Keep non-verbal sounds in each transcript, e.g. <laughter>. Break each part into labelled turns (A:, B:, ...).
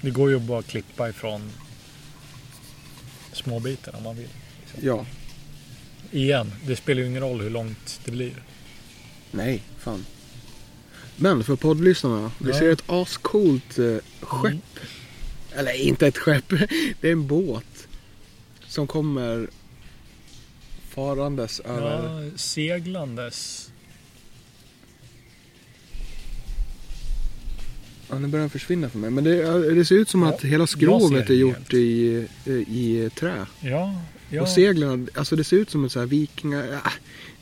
A: Det går ju att bara klippa ifrån småbitar om man vill.
B: Ja.
A: Igen, det spelar ju ingen roll hur långt det blir.
B: Nej, fan. Men för poddlyssnarna, vi
A: Ja.
B: ser ett ascoolt eh, skepp.
A: Mm.
B: Eller inte ett skepp, <laughs> det är en båt. Som kommer farandes över...
A: Ja, seglandes.
B: Ja, nu börjar den försvinna för mig. Men det, ja, det ser ut som
A: Ja,
B: att hela
A: jag
B: skrovet
A: ser
B: är
A: det
B: gjort
A: helt.
B: i, eh, i trä.
A: Ja, ja.
B: Och seglen, alltså det ser ut som ett så här vikinga... Ja,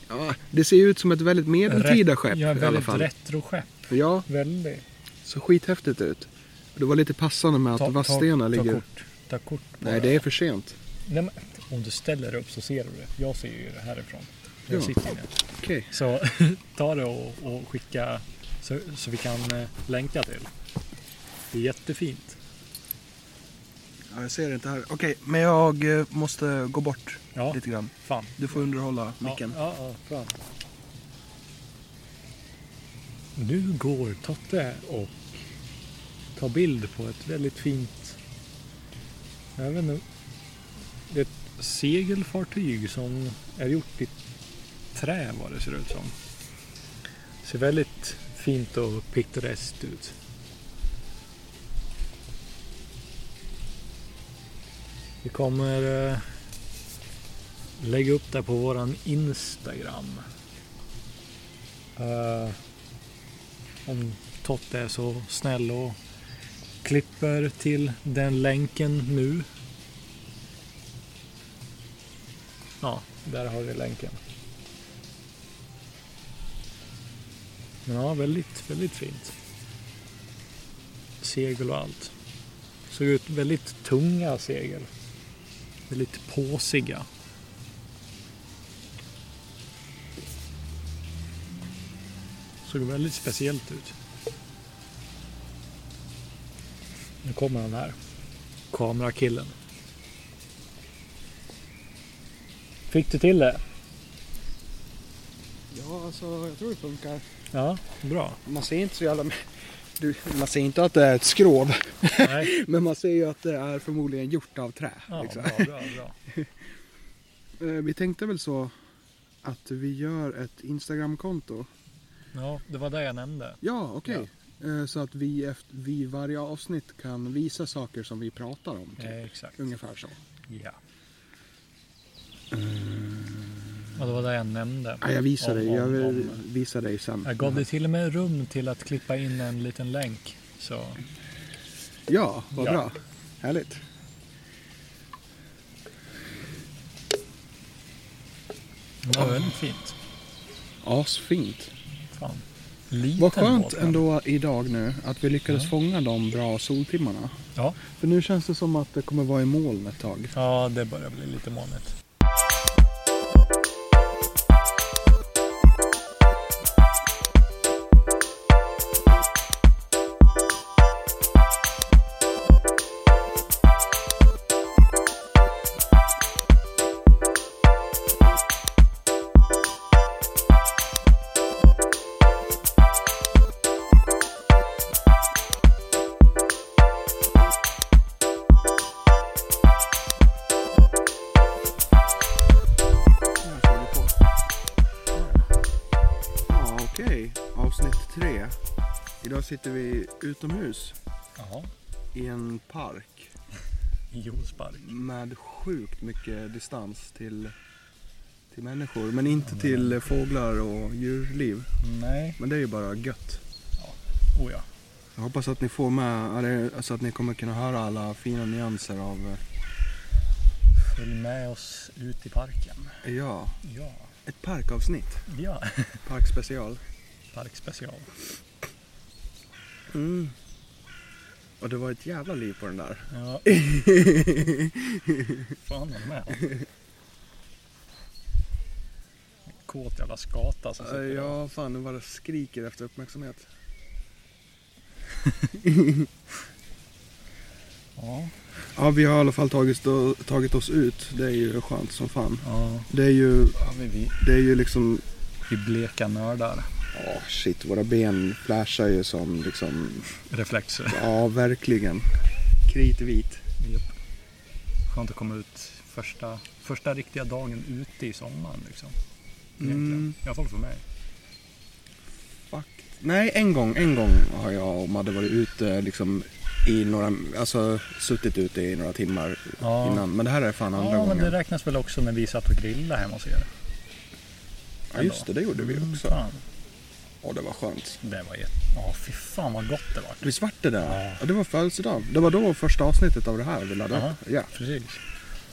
B: ja, det ser ut som ett väldigt medeltida
A: Rätt-
B: skepp
A: ja,
B: i alla fall.
A: Väldigt retroskepp.
B: Ja,
A: Väldigt.
B: så skithäftigt ut. Det var lite passande med att Vadstena ligger...
A: Ta kort. Ta kort på
B: Nej, det är för sent.
A: Nej, men, om du ställer dig upp så ser du det. Jag ser ju det härifrån. Jag
B: Ja.
A: sitter ju ner.
B: Okej.
A: Så <laughs> ta det och, och skicka så, så vi kan eh, länka till. Det är jättefint.
B: Ja, jag ser det inte här. Okej, men jag eh, måste gå bort
A: Ja,
B: lite grann.
A: fan.
B: Du får underhålla
A: Ja,
B: micken.
A: ja, ja, fan. Nu går Totte och tar bild på ett väldigt fint... Jag vet inte. Det är ett segelfartyg som är gjort i trä vad det ser ut som. Ser väldigt fint och pittoreskt ut. Vi kommer eh, lägga upp det på våran Instagram. Eh, om Totte är så snäll och klipper till den länken nu. Ja, där har du länken. Men ja, väldigt, väldigt fint. Segel och allt. Såg ut väldigt tunga segel. Väldigt påsiga. Såg väldigt speciellt ut. Nu kommer han här. Kamerakillen. Fick du till det?
B: Ja, alltså jag tror det funkar.
A: Ja, bra.
B: Man ser inte så jävla... Du, man ser inte att det är ett skrov.
A: <laughs> Nej.
B: <laughs> Men man ser ju att det är förmodligen gjort av trä.
A: Ja,
B: liksom.
A: bra, bra, bra.
B: Eh, Vi tänkte väl så att vi gör ett Instagramkonto.
A: Ja, det var det jag nämnde.
B: Ja, okej. Eh, Så att vi, efter, vi varje avsnitt kan visa saker som vi pratar om. Typ.
A: Eh, exakt.
B: Ungefär så.
A: Ja. Och det var det jag nämnde.
B: Ja, jag visar
A: Om-
B: dig. Jag
A: om-
B: vill
A: om-
B: visa dig sen.
A: Jag gav dig till och med rum till att klippa in en liten länk. Så
B: Ja, vad
A: Ja.
B: bra. Härligt.
A: det var väldigt fint.
B: Asfint.
A: Fan. Liten
B: Vad skönt
A: båt, men-
B: ändå idag nu att vi lyckades fånga de bra soltimmarna.
A: Ja.
B: För nu känns det som att det kommer vara i moln ett tag.
A: ja, det börjar bli lite molnigt.
B: Ja, okej. Avsnitt tre. Idag sitter vi utomhus
A: Ja,
B: i en park
A: i Jonspark.
B: med sjukt mycket distans till, till människor. Men inte till fåglar och djurliv.
A: Nej.
B: Men det är ju bara gött.
A: Oh ja.
B: Jag hoppas att ni får med, eller, alltså att ni kommer kunna höra alla fina nyanser av,
A: Följ med oss ut i parken.
B: eh, ja,
A: Ja.
B: ett <laughs> parkavsnitt.
A: Ja.
B: Parkspecial.
A: Parkspecial.
B: Mm. Och det var ett jävla liv på den där.
A: <laughs> Ja. Fan, han är med. En Kåt jävla skata som sitter där.
B: Ja, fan, nu bara skriker efter uppmärksamhet.
A: Ja.
B: Ja, vi har i alla fall tagit, tagit oss ut. Det är ju skönt som fan.
A: ja.
B: Det är ju,
A: vi, vi,
B: det är ju liksom,
A: vi bleka nördar.
B: ja shit, våra ben flashar ju som liksom,
A: Reflexer.
B: ja verkligen. kritvit.
A: Japp. Skönt att komma ut första, första riktiga dagen ute i sommaren. Liksom, egentligen.
B: Mm.
A: I alla fall för mig.
B: Fuck. Nej, en gång, en gång har jag och Madde varit ute liksom i några, alltså suttit ute i några timmar
A: Ja.
B: innan. Men det här är fan andra
A: Ja, men
B: gången.
A: det räknas väl också när vi satt och grillade hemma hos er.
B: ja, just det, det gjorde vi
A: Mm,
B: också.
A: fan.
B: Och det var skönt.
A: Det var jätte... Ja, fy fan vad gott det var.
B: Visst vart det där?
A: Ja.
B: Ja. Det var födelsedag. Det var då första avsnittet av det här vi laddade
A: Jaha.
B: upp. Ja.
A: Precis.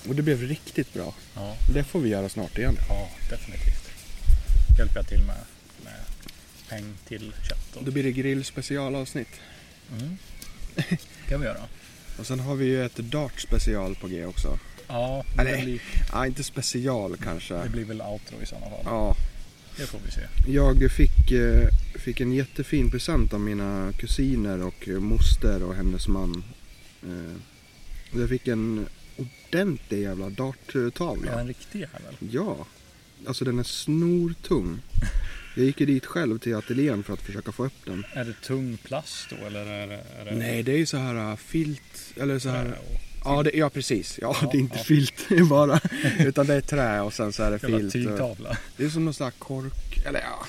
B: Och det blev riktigt bra.
A: Ja,
B: Det får vi göra snart igen.
A: ja definitivt. Hjälper jag till med, med peng till kött och...
B: Då blir det grillspecialavsnitt.
A: Mm. kan vi göra.
B: Och sen har vi ju ett dart special på G också.
A: Ja, men det
B: Nej.
A: blir,
B: Ja, inte special
A: det
B: kanske.
A: blir väl outro i sådana fall.
B: Ja,
A: Det får vi se.
B: jag fick, eh, fick en jättefin present av mina kusiner och eh, moster och hennes man. Eh, och Jag fick en ordentlig jävla darttavla.
A: Ja. En riktig jävel.
B: Ja, alltså den är snortung. Jag gick ju dit själv till ateljén för att försöka få upp den.
A: Är det tung plast då eller är det... Är det
B: Nej, det är ju så här äh, filt, eller så här...
A: trä och-
B: Ja, det, ja precis. Ja,
A: Ja,
B: det är inte
A: ja.
B: filt bara. <laughs> Utan det är trä och sen så är det
A: Jävla
B: filt. och-
A: tygtavla.
B: Det är som någon sån här kork, eller ja.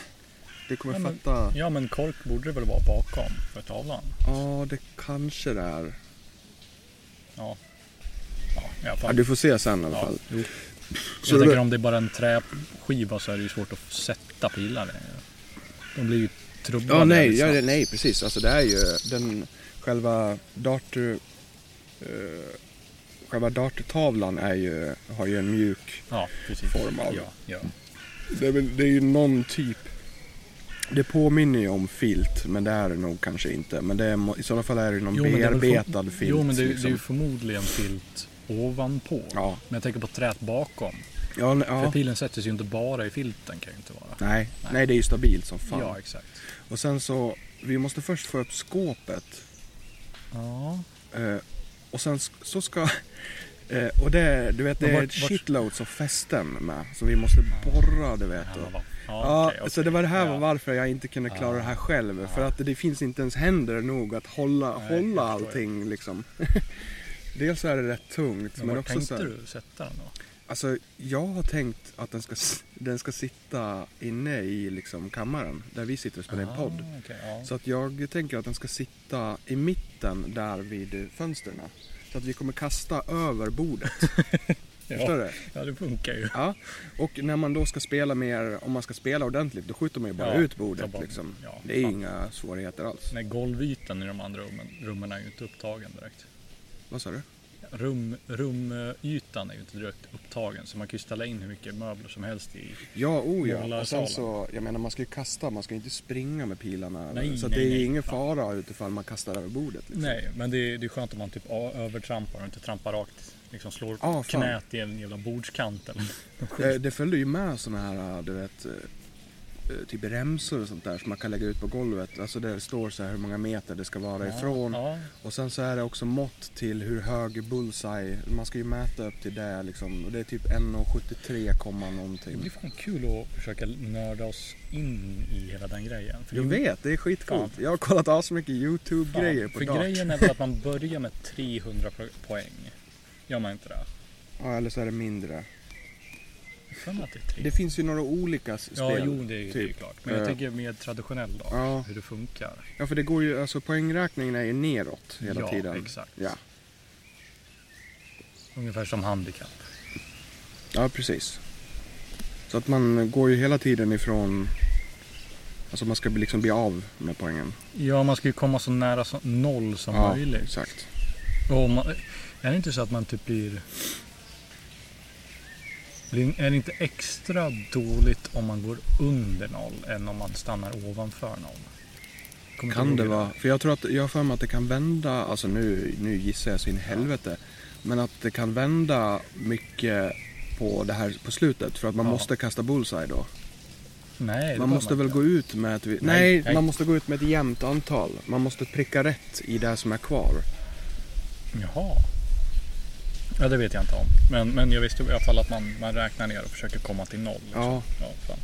B: Du kommer
A: Ja, men-
B: fatta.
A: Ja men kork borde det väl vara bakom för tavlan?
B: Ja, det kanske det är.
A: Ja. Ja, i alla
B: Ja,
A: fall.
B: du får se sen i alla fall.
A: jo.
B: Så
A: Jag
B: det-
A: tänker om det är bara en träskiva så är det ju svårt att sätta pilar längre. De blir ju trubbiga
B: Ja, nej,
A: väldigt
B: ja,
A: snabbt.
B: det- nej, precis. Alltså det är ju den själva dart... eh, själva darttavlan är ju, har ju en mjuk...
A: Ja, precis.
B: form av-
A: Ja, ja.
B: Det är, väl, det är ju någon typ... Det påminner ju om filt, men det är det nog kanske inte. Men det är, må- i sådana fall är det ju någon
A: Jo, men det är väl
B: bearbetad filt.
A: Jo men det, är ju- det är
B: liksom.
A: ju förmodligen filt ovanpå.
B: Ja,
A: Men jag tänker på trät bakom.
B: ja, n-
A: För
B: ja.
A: pilen sätter sig ju inte bara i filten kan ju inte vara.
B: Nej, nej, det är ju stabilt som fan.
A: Ja, exakt.
B: Och sen så, vi måste först få upp skåpet.
A: Ja.
B: Eh, och sen sk- så ska... <laughs> Eh, och det, du vet, det
A: Men
B: är
A: vart-
B: ett
A: vart-
B: shitloads av fästen med. Så vi måste borra, du vet.
A: Ja,
B: Och,
A: va-
B: ja,
A: okej, okej.
B: så det var det här var
A: Ja.
B: varför jag inte kunde
A: Ja.
B: klara det här själv. För
A: Ja.
B: att det finns inte ens händer nog att hålla,
A: Nej,
B: hålla
A: jag förstår
B: allting liksom. <laughs> Dels är det rätt tungt. Men,
A: Men var
B: liksom också
A: tänkte
B: så här,
A: du sätta den då?
B: Alltså, jag har tänkt att den ska, s- den ska sitta inne i liksom kammaren. Där vi sitter och spelar in
A: Ah,
B: podd.
A: okej, ja.
B: Så att jag tänker att den ska sitta i mitten där vid fönstren. Så att vi kommer kasta över bordet. Förstår
A: <laughs> ja.
B: du?
A: ja, det funkar ju.
B: Ja. Och när man då ska spela mer, om man ska spela ordentligt, då skjuter man ju bara
A: Ja,
B: ut bordet.
A: ta bort-
B: liksom.
A: ja,
B: det är ju
A: fan.
B: inga svårigheter alls.
A: Nej, golvytan i de andra rummen, rummen är ju inte upptagen direkt.
B: Vad sa du?
A: Rum, rumytan är ju inte direkt upptagen så man kan ju ställa in hur mycket möbler som helst i.
B: Ja, oh ja.
A: Måla
B: Och sen
A: salen.
B: så, jag menar man ska ju kasta, man ska ju inte springa med pilarna.
A: Nej,
B: så att
A: nej,
B: det är ju
A: nej,
B: ingen
A: fan.
B: fara utifall man kastar över bordet. Liksom.
A: Nej, men det är, det är skönt om man typ a- övertrampar och inte trampar rakt. Liksom slår
B: Ah, fan.
A: knät i en jävla bordskant eller
B: Eh, Det, det följde ju med såna här, du vet, eh, eh, typ remsor och sånt där som man kan lägga ut på golvet. Alltså där det står så här hur många meter det ska vara ifrån.
A: Ja,
B: Och sen så är det också mått till hur hög bullseye, man ska ju mäta upp till det liksom. Och det är typ 1,73 komma
A: det blir
B: någonting.
A: fan kul att försöka nörda oss in i hela den grejen. För
B: Jag
A: ju-
B: vet, det är skitcoolt.
A: Fan.
B: Jag har kollat av så mycket
A: fan,
B: YouTube-grejer på
A: För
B: dart.
A: grejen är väl att man börjar med 300 po- poäng. Gör man inte det?
B: Ja, eller så är det mindre.
A: Jag har för mig att det är 300.
B: Det finns ju några olika s- spel.
A: Ja, jo, det är ju det är ju
B: typ.
A: klart. Men jag
B: Eh,
A: tänker mer traditionell då,
B: Ja.
A: hur det funkar.
B: Ja, för det går ju, alltså poängräkningen är ju neråt hela
A: ja,
B: tiden.
A: exakt.
B: Ja.
A: Ungefär som handikapp.
B: Ja, precis. Så att man går ju hela tiden ifrån... Alltså man ska bli- liksom bli av med poängen.
A: Ja, man ska ju komma så nära så, noll som
B: ja,
A: möjligt.
B: exakt.
A: Och om man, är det inte så att man typ blir... blir- Är det inte extra dåligt om man går under noll än om man stannar ovanför noll? Kommer
B: Kan
A: inte
B: det
A: ihåg
B: vara... För jag tror att, jag har för mig att det kan vända, alltså nu, nu gissar jag så in i helvete. Men att det kan vända mycket på det här på slutet. För att man
A: Ja.
B: måste kasta bullseye då.
A: Nej, det behöver
B: man måste väl
A: inte.
B: gå ut med ett... Nej,
A: Nej, nej.
B: man måste gå ut med ett jämnt antal. Man måste pricka rätt i det som är kvar.
A: Jaha. Ja, det vet jag inte om. Men, men jag visste i alla fall att man, man räknar ner och försöker komma till noll. liksom.
B: Ja.
A: Ja, fan.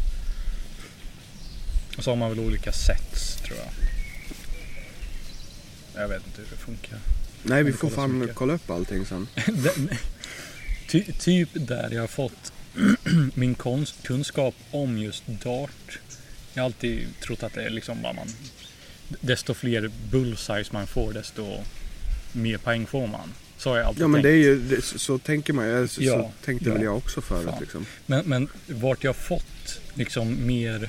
A: Och så har man väl olika sets tror jag. Jag vet inte hur det funkar.
B: Nej, vi
A: Kan
B: får
A: kolla så
B: fan
A: mycket.
B: kolla upp allting sen.
A: Den, <laughs> ty, typ där jag har fått <clears throat> min konst, kunskap om just dart. Jag har alltid trott att det är liksom vad man... Desto fler bullseyes man får, desto mer poäng får man. Så har jag alltid
B: Ja,
A: tänkt.
B: men det är ju, det, så- så tänker man ju. Så,
A: Ja,
B: så tänkte
A: ja.
B: väl jag också förut
A: Fan.
B: liksom.
A: Men, men vart jag fått liksom mer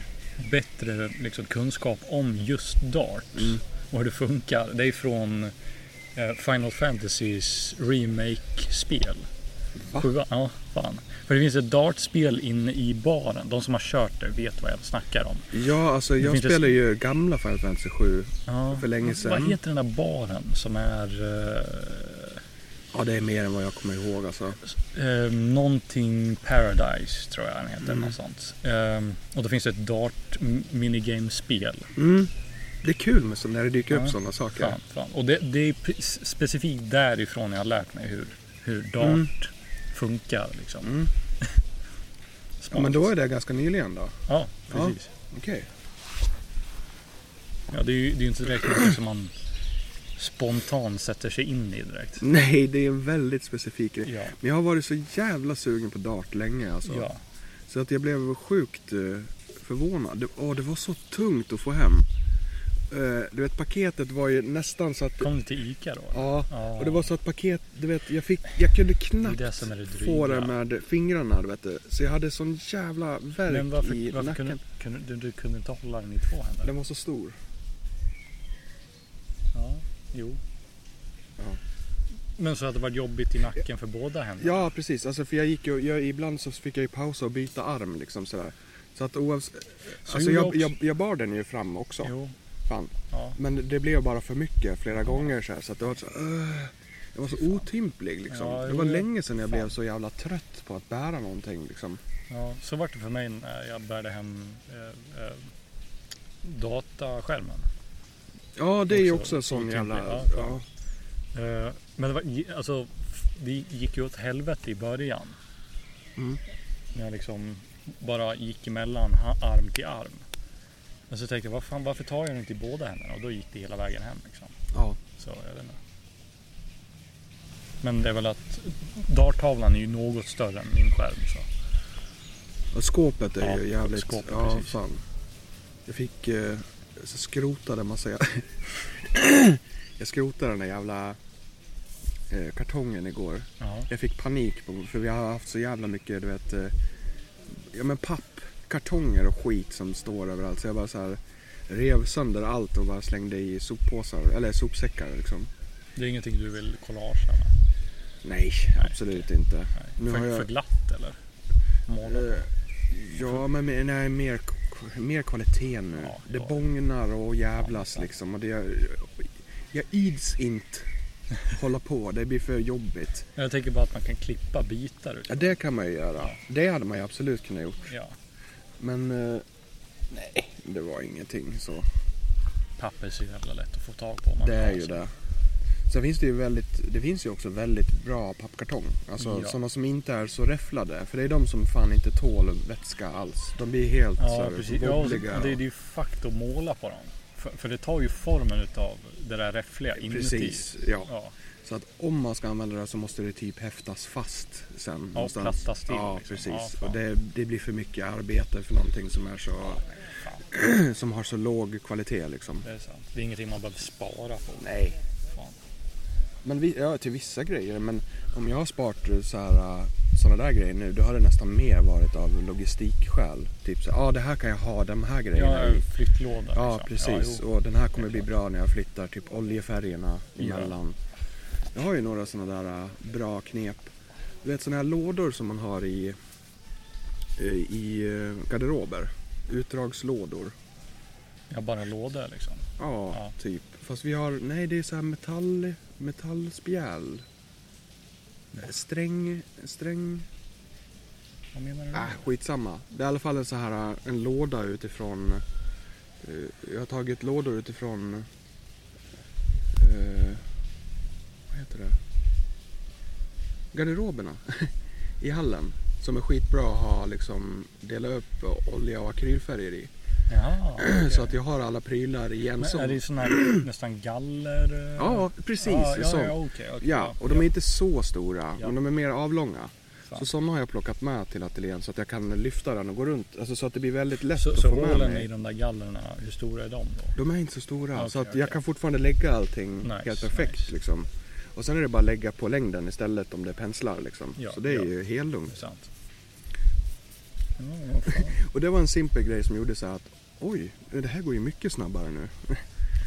A: bättre liksom, kunskap om just Dart
B: Mm.
A: och hur det funkar. Det är från eh, Final Fantasys remake-spel.
B: Va?
A: Sjua- Ja, fan. För det finns ett Dart-spel inne i baren. De som har kört det vet vad jag snackar om.
B: Ja, alltså jag
A: finns det-
B: spelar ju gamla Final Fantasy 7.
A: Ja.
B: För länge
A: Vad
B: sedan.
A: heter den där baren som är eh,
B: Ja, det är mer än vad jag kommer ihåg alltså.
A: eh, någonting Paradise tror jag den heter.
B: Mm.
A: Något sånt. Eh, och då finns det ett Dart-minigame-spel.
B: Mm. Det är kul med så, när det dyker upp
A: Ja,
B: sådana saker.
A: Fan, fan. Och det, det är pre- specifikt därifrån jag har lärt mig hur, hur dart
B: Mm.
A: funkar. Liksom.
B: Mm. Ja,
A: Smart.
B: men då är det ganska nyligen då.
A: Ja,
B: Ja.
A: precis.
B: Okej.
A: Ja. det är ju det är ju inte direkt något som man spontant sätter sig in i direkt.
B: Nej, det är en väldigt specifik grej.
A: Ja,
B: Men jag har varit så jävla sugen på dart länge alltså.
A: ja.
B: Mm. Så att jag blev sjukt eh, förvånad. Det, åh, det var så tungt att få hem. Eh, du vet, paketet var ju nästan så att...
A: Kom du till ICA då?
B: Ja,
A: Ja.
B: och det var så att paket, du vet, jag, fick, jag kunde knappt
A: Det är det som är det dryga.
B: få det med fingrarna, du vet. du. Så jag hade sån jävla värk
A: Men varför,
B: i
A: varför
B: nacken.
A: kunde, kunde du, du kunde inte hålla den i två händer?
B: Den var så stor.
A: Ja, jo.
B: Ja.
A: Men så att det var jobbigt i nacken för båda händerna?
B: Ja, precis. Alltså, för jag gick ju, jag, ibland så fick jag ju pausa och byta arm liksom sådär. Så att oavsett,
A: Så gjorde
B: alltså jag,
A: jag
B: jag,
A: också.
B: jag bar den ju fram också.
A: Jo,
B: Fan.
A: ja.
B: Men det blev bara för mycket flera gånger så här, så att det var så, uh, jag var så otymplig liksom.
A: Ja,
B: det
A: jo,
B: var
A: jo.
B: länge sedan jag
A: Fan.
B: blev så jävla trött på att bära någonting liksom.
A: Ja, så var det för mig när jag bärde hem eh, eh, dataskärmen.
B: Ja, det är ju
A: Också
B: också en sån
A: otymplig,
B: jävla...
A: ja,
B: Ja,
A: Eh, men det, var, gi- alltså, det gick ju åt helvete i början.
B: Mm.
A: När jag liksom bara gick emellan ha- arm till arm. Men så tänkte jag, vad fan, varför tar jag den inte i båda händerna? Och då gick det hela vägen hem. Liksom.
B: ja.
A: Så, jag vet inte. Men det är väl att darttavlan är ju något större än min skärm. Så.
B: Och skåpet är
A: Ja,
B: ju jävligt...
A: skåpet,
B: ja,
A: precis.
B: fan. Jag fick... Eh, så skrotade man säger. <coughs> jag skrotade den där jävla eh, kartongen igår.
A: Ja.
B: Jag fick panik på, för vi har haft så jävla mycket, du vet, eh, ja men papp, kartonger och skit som står överallt. Så jag bara så här rev sönder allt och bara slängde i soppåsar, eller sopsäckar liksom.
A: Det är ingenting du vill kollagea med?
B: Nej, absolut inte.
A: Nej.
B: Nu
A: för,
B: har jag-
A: för glatt eller? Måla på?
B: Eh, ja, men mer- nej, mer, mer kvalitet nu.
A: Ja,
B: det
A: ja.
B: bångnar och jävlas
A: Ja,
B: liksom. Och det, jag
A: <laughs>
B: ids inte hålla på, det blir för jobbigt.
A: Jag tänker bara att man kan klippa bitar ut.
B: Ja, det kan man ju göra. Det hade man ju absolut kunnat gjort.
A: Ja,
B: Men eh, nej, det var ingenting så.
A: papper är så jävla lätt att få tag på. om man
B: Det är
A: vill
B: ju
A: ha
B: det. Sen finns det ju väldigt, det finns ju också väldigt bra pappkartong. Alltså
A: Mm, Ja.
B: sådana som inte är så räfflade. För det är de som fan inte tål vätska alls. De blir helt
A: sig.
B: så
A: Ja,
B: här
A: precis. Ja, och det,
B: bobbliga.
A: det är ju fakt att måla på dem. För, för det tar ju formen utav det där räffliga inuti.
B: Precis, ja.
A: Ja,
B: Så att om man ska använda det så måste det typ häftas fast sen. någonstans.
A: plattas till,
B: Ja,
A: liksom. Ja,
B: precis.
A: fan.
B: och det, det blir för mycket arbete för någonting som är så... <clears throat>
A: fan.
B: som har så låg kvalitet liksom.
A: det är sant. Det är ingenting man behöver spara på.
B: Nej,
A: Fan.
B: Men vi, ja, till vissa grejer. Men om jag har sparat eh, så här, eh, såna där grejer nu, då har det nästan mer varit av logistikskäl. Typ så ja ah, det här kan jag ha, de här grejerna
A: Ja,
B: i.
A: flyttlåda.
B: Ja,
A: liksom.
B: precis.
A: jo.
B: och den här kommer
A: Det är
B: bli bra när jag flyttar typ oljefärgerna
A: Ja.
B: emellan. Jag har ju några sådana där eh, bra knep. Du vet sådana här lådor som man har i, eh, i eh, garderober. Utdragslådor.
A: Ja, bara lådor liksom.
B: Ja,
A: Ja.
B: typ. Fast vi har, nej det är så här metall, metallspjäl. Sträng, sträng,
A: Vad menar du?
B: äh, skitsamma. Det är i alla fall en så här, äh, en låda utifrån. eh, Jag har tagit lådor utifrån. eh, vad heter det? Garderoberna <laughs> i hallen. Som är skitbra att ha liksom, dela upp olja och akrylfärger i.
A: Ja, okej.
B: <clears throat> Så att jag har alla prylar i en
A: Men
B: sån.
A: är det sån här <clears throat> nästan galler? eh?
B: Ja, precis.
A: ja, ja,
B: sån.
A: ja, okej, okej,
B: Ja, och de är inte så stora,
A: Ja.
B: men de är mer avlånga.
A: Fan.
B: Så sådana har jag plockat med till ateljén så att jag kan lyfta den och gå runt. Alltså så att det blir väldigt lätt
A: Så,
B: att
A: så
B: få med
A: hålen i
B: mig.
A: de där gallerna, hur stora är de då?
B: De är inte så stora
A: Okej,
B: så att
A: okej.
B: jag kan fortfarande lägga allting
A: Nice,
B: helt perfekt
A: nice.
B: liksom. Och sen är det bara att lägga på längden istället om det är penslar liksom.
A: Ja,
B: så det är
A: ja.
B: ju helt
A: Det är
B: lugnt.
A: sant. Ja, vad fan,
B: Och det var en simpel grej som gjorde så här att oj, det här går ju mycket snabbare nu.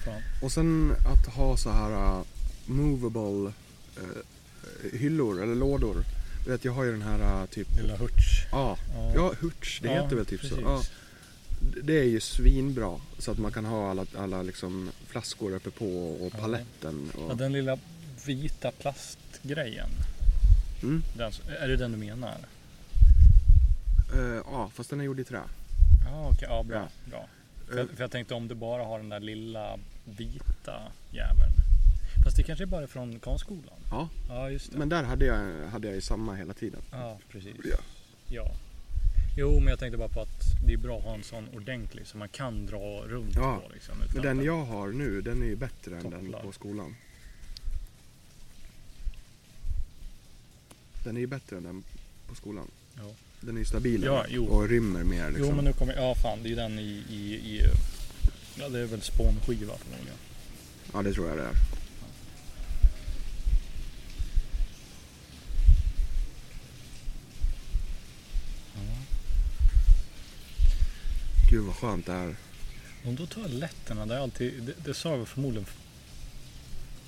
A: fan.
B: Och sen att ha så här uh, movable eh, hyllor eller lådor. Du vet, jag har ju den här uh, typ...
A: Lilla Hurts.
B: Ja,
A: Ja.
B: ja Hurts, det
A: Ja,
B: heter väl typ så.
A: precis.
B: Ja. D- Det är ju svinbra så att man kan ha alla, alla liksom flaskor uppe på och
A: Ja.
B: paletten.
A: Ja,
B: Och,
A: den lilla vita plastgrejen.
B: mm.
A: Den, är det den du menar?
B: Eh, ja, fast den är gjord i trä.
A: Ja, okej. Ja, bra.
B: Ja.
A: bra. För,
B: Eh,
A: jag, för jag tänkte om du bara har den där lilla vita jäveln. Fast det kanske är bara från konstskolan?
B: ja,
A: Ja, just det.
B: men där hade jag, hade jag ju samma hela tiden.
A: Ja, precis.
B: Ja.
A: Ja. Jo, men jag tänkte bara på att det är bra att ha en sån ordentlig som man kan dra runt
B: Ja,
A: på. Liksom,
B: Men
A: utan
B: den
A: att-
B: jag har nu, den är ju bättre än den
A: Topplag.
B: på skolan. Den är ju bättre än den på skolan.
A: Ja.
B: Den är ju stabilare
A: Ja, jo.
B: och rymmer mer. Liksom.
A: Jo, men nu kommer Ja, fan. Det är ju den i... i, i ja, det är väl spånskiva förmodligen.
B: Ja, det tror jag det är. Gud vad skönt
A: <laughs>
B: det här.
A: De där toaletterna, det, är alltid, det, det sa jag förmodligen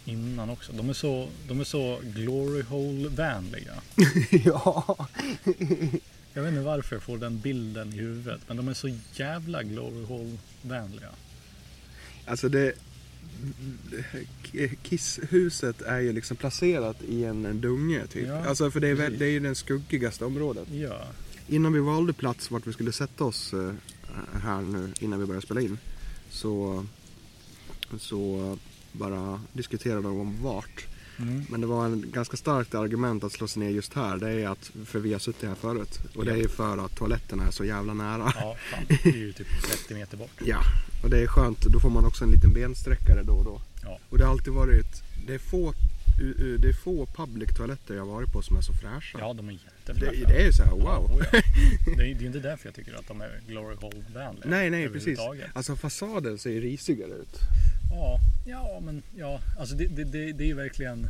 A: innan också. De är så, de är så glory hole-vänliga.
B: ja.
A: Jag vet inte varför jag får den bilden i huvudet, men de är så jävla glory hole-vänliga.
B: Alltså det... Kisshuset är ju liksom placerat i en dunge typ.
A: Ja,
B: alltså för det är, väl,
A: precis.
B: det är ju det skuggigaste området.
A: Ja,
B: Innan vi valde plats vart vi skulle sätta oss eh, här nu innan vi började spela in så, så bara diskuterade de om vart.
A: Mm.
B: Men det var en ganska starkt argument att slå sig ner just här. Det är att, för vi har suttit här förut. Och det är för att toaletterna är så jävla nära. <laughs>
A: ja fan. Det är ju typ 30 meter bort.
B: Ja, och det är skönt. Då får man också en liten bensträckare då och då.
A: Ja.
B: Och det har alltid varit, det är få, u- u- det är få public toaletter jag har varit på som är så fräscha.
A: Ja, de är jättefräscha.
B: det, det är ju så här,
A: Ja,
B: wow.
A: oh
B: <laughs>
A: ja. Det är ju det är inte därför jag tycker att de är glory hole-vänliga.
B: Nej, nej, precis.
A: överhuvudtaget.
B: Alltså fasaden ser ju risigare ut.
A: Ja, ja men ja, alltså det, det, det, det är ju verkligen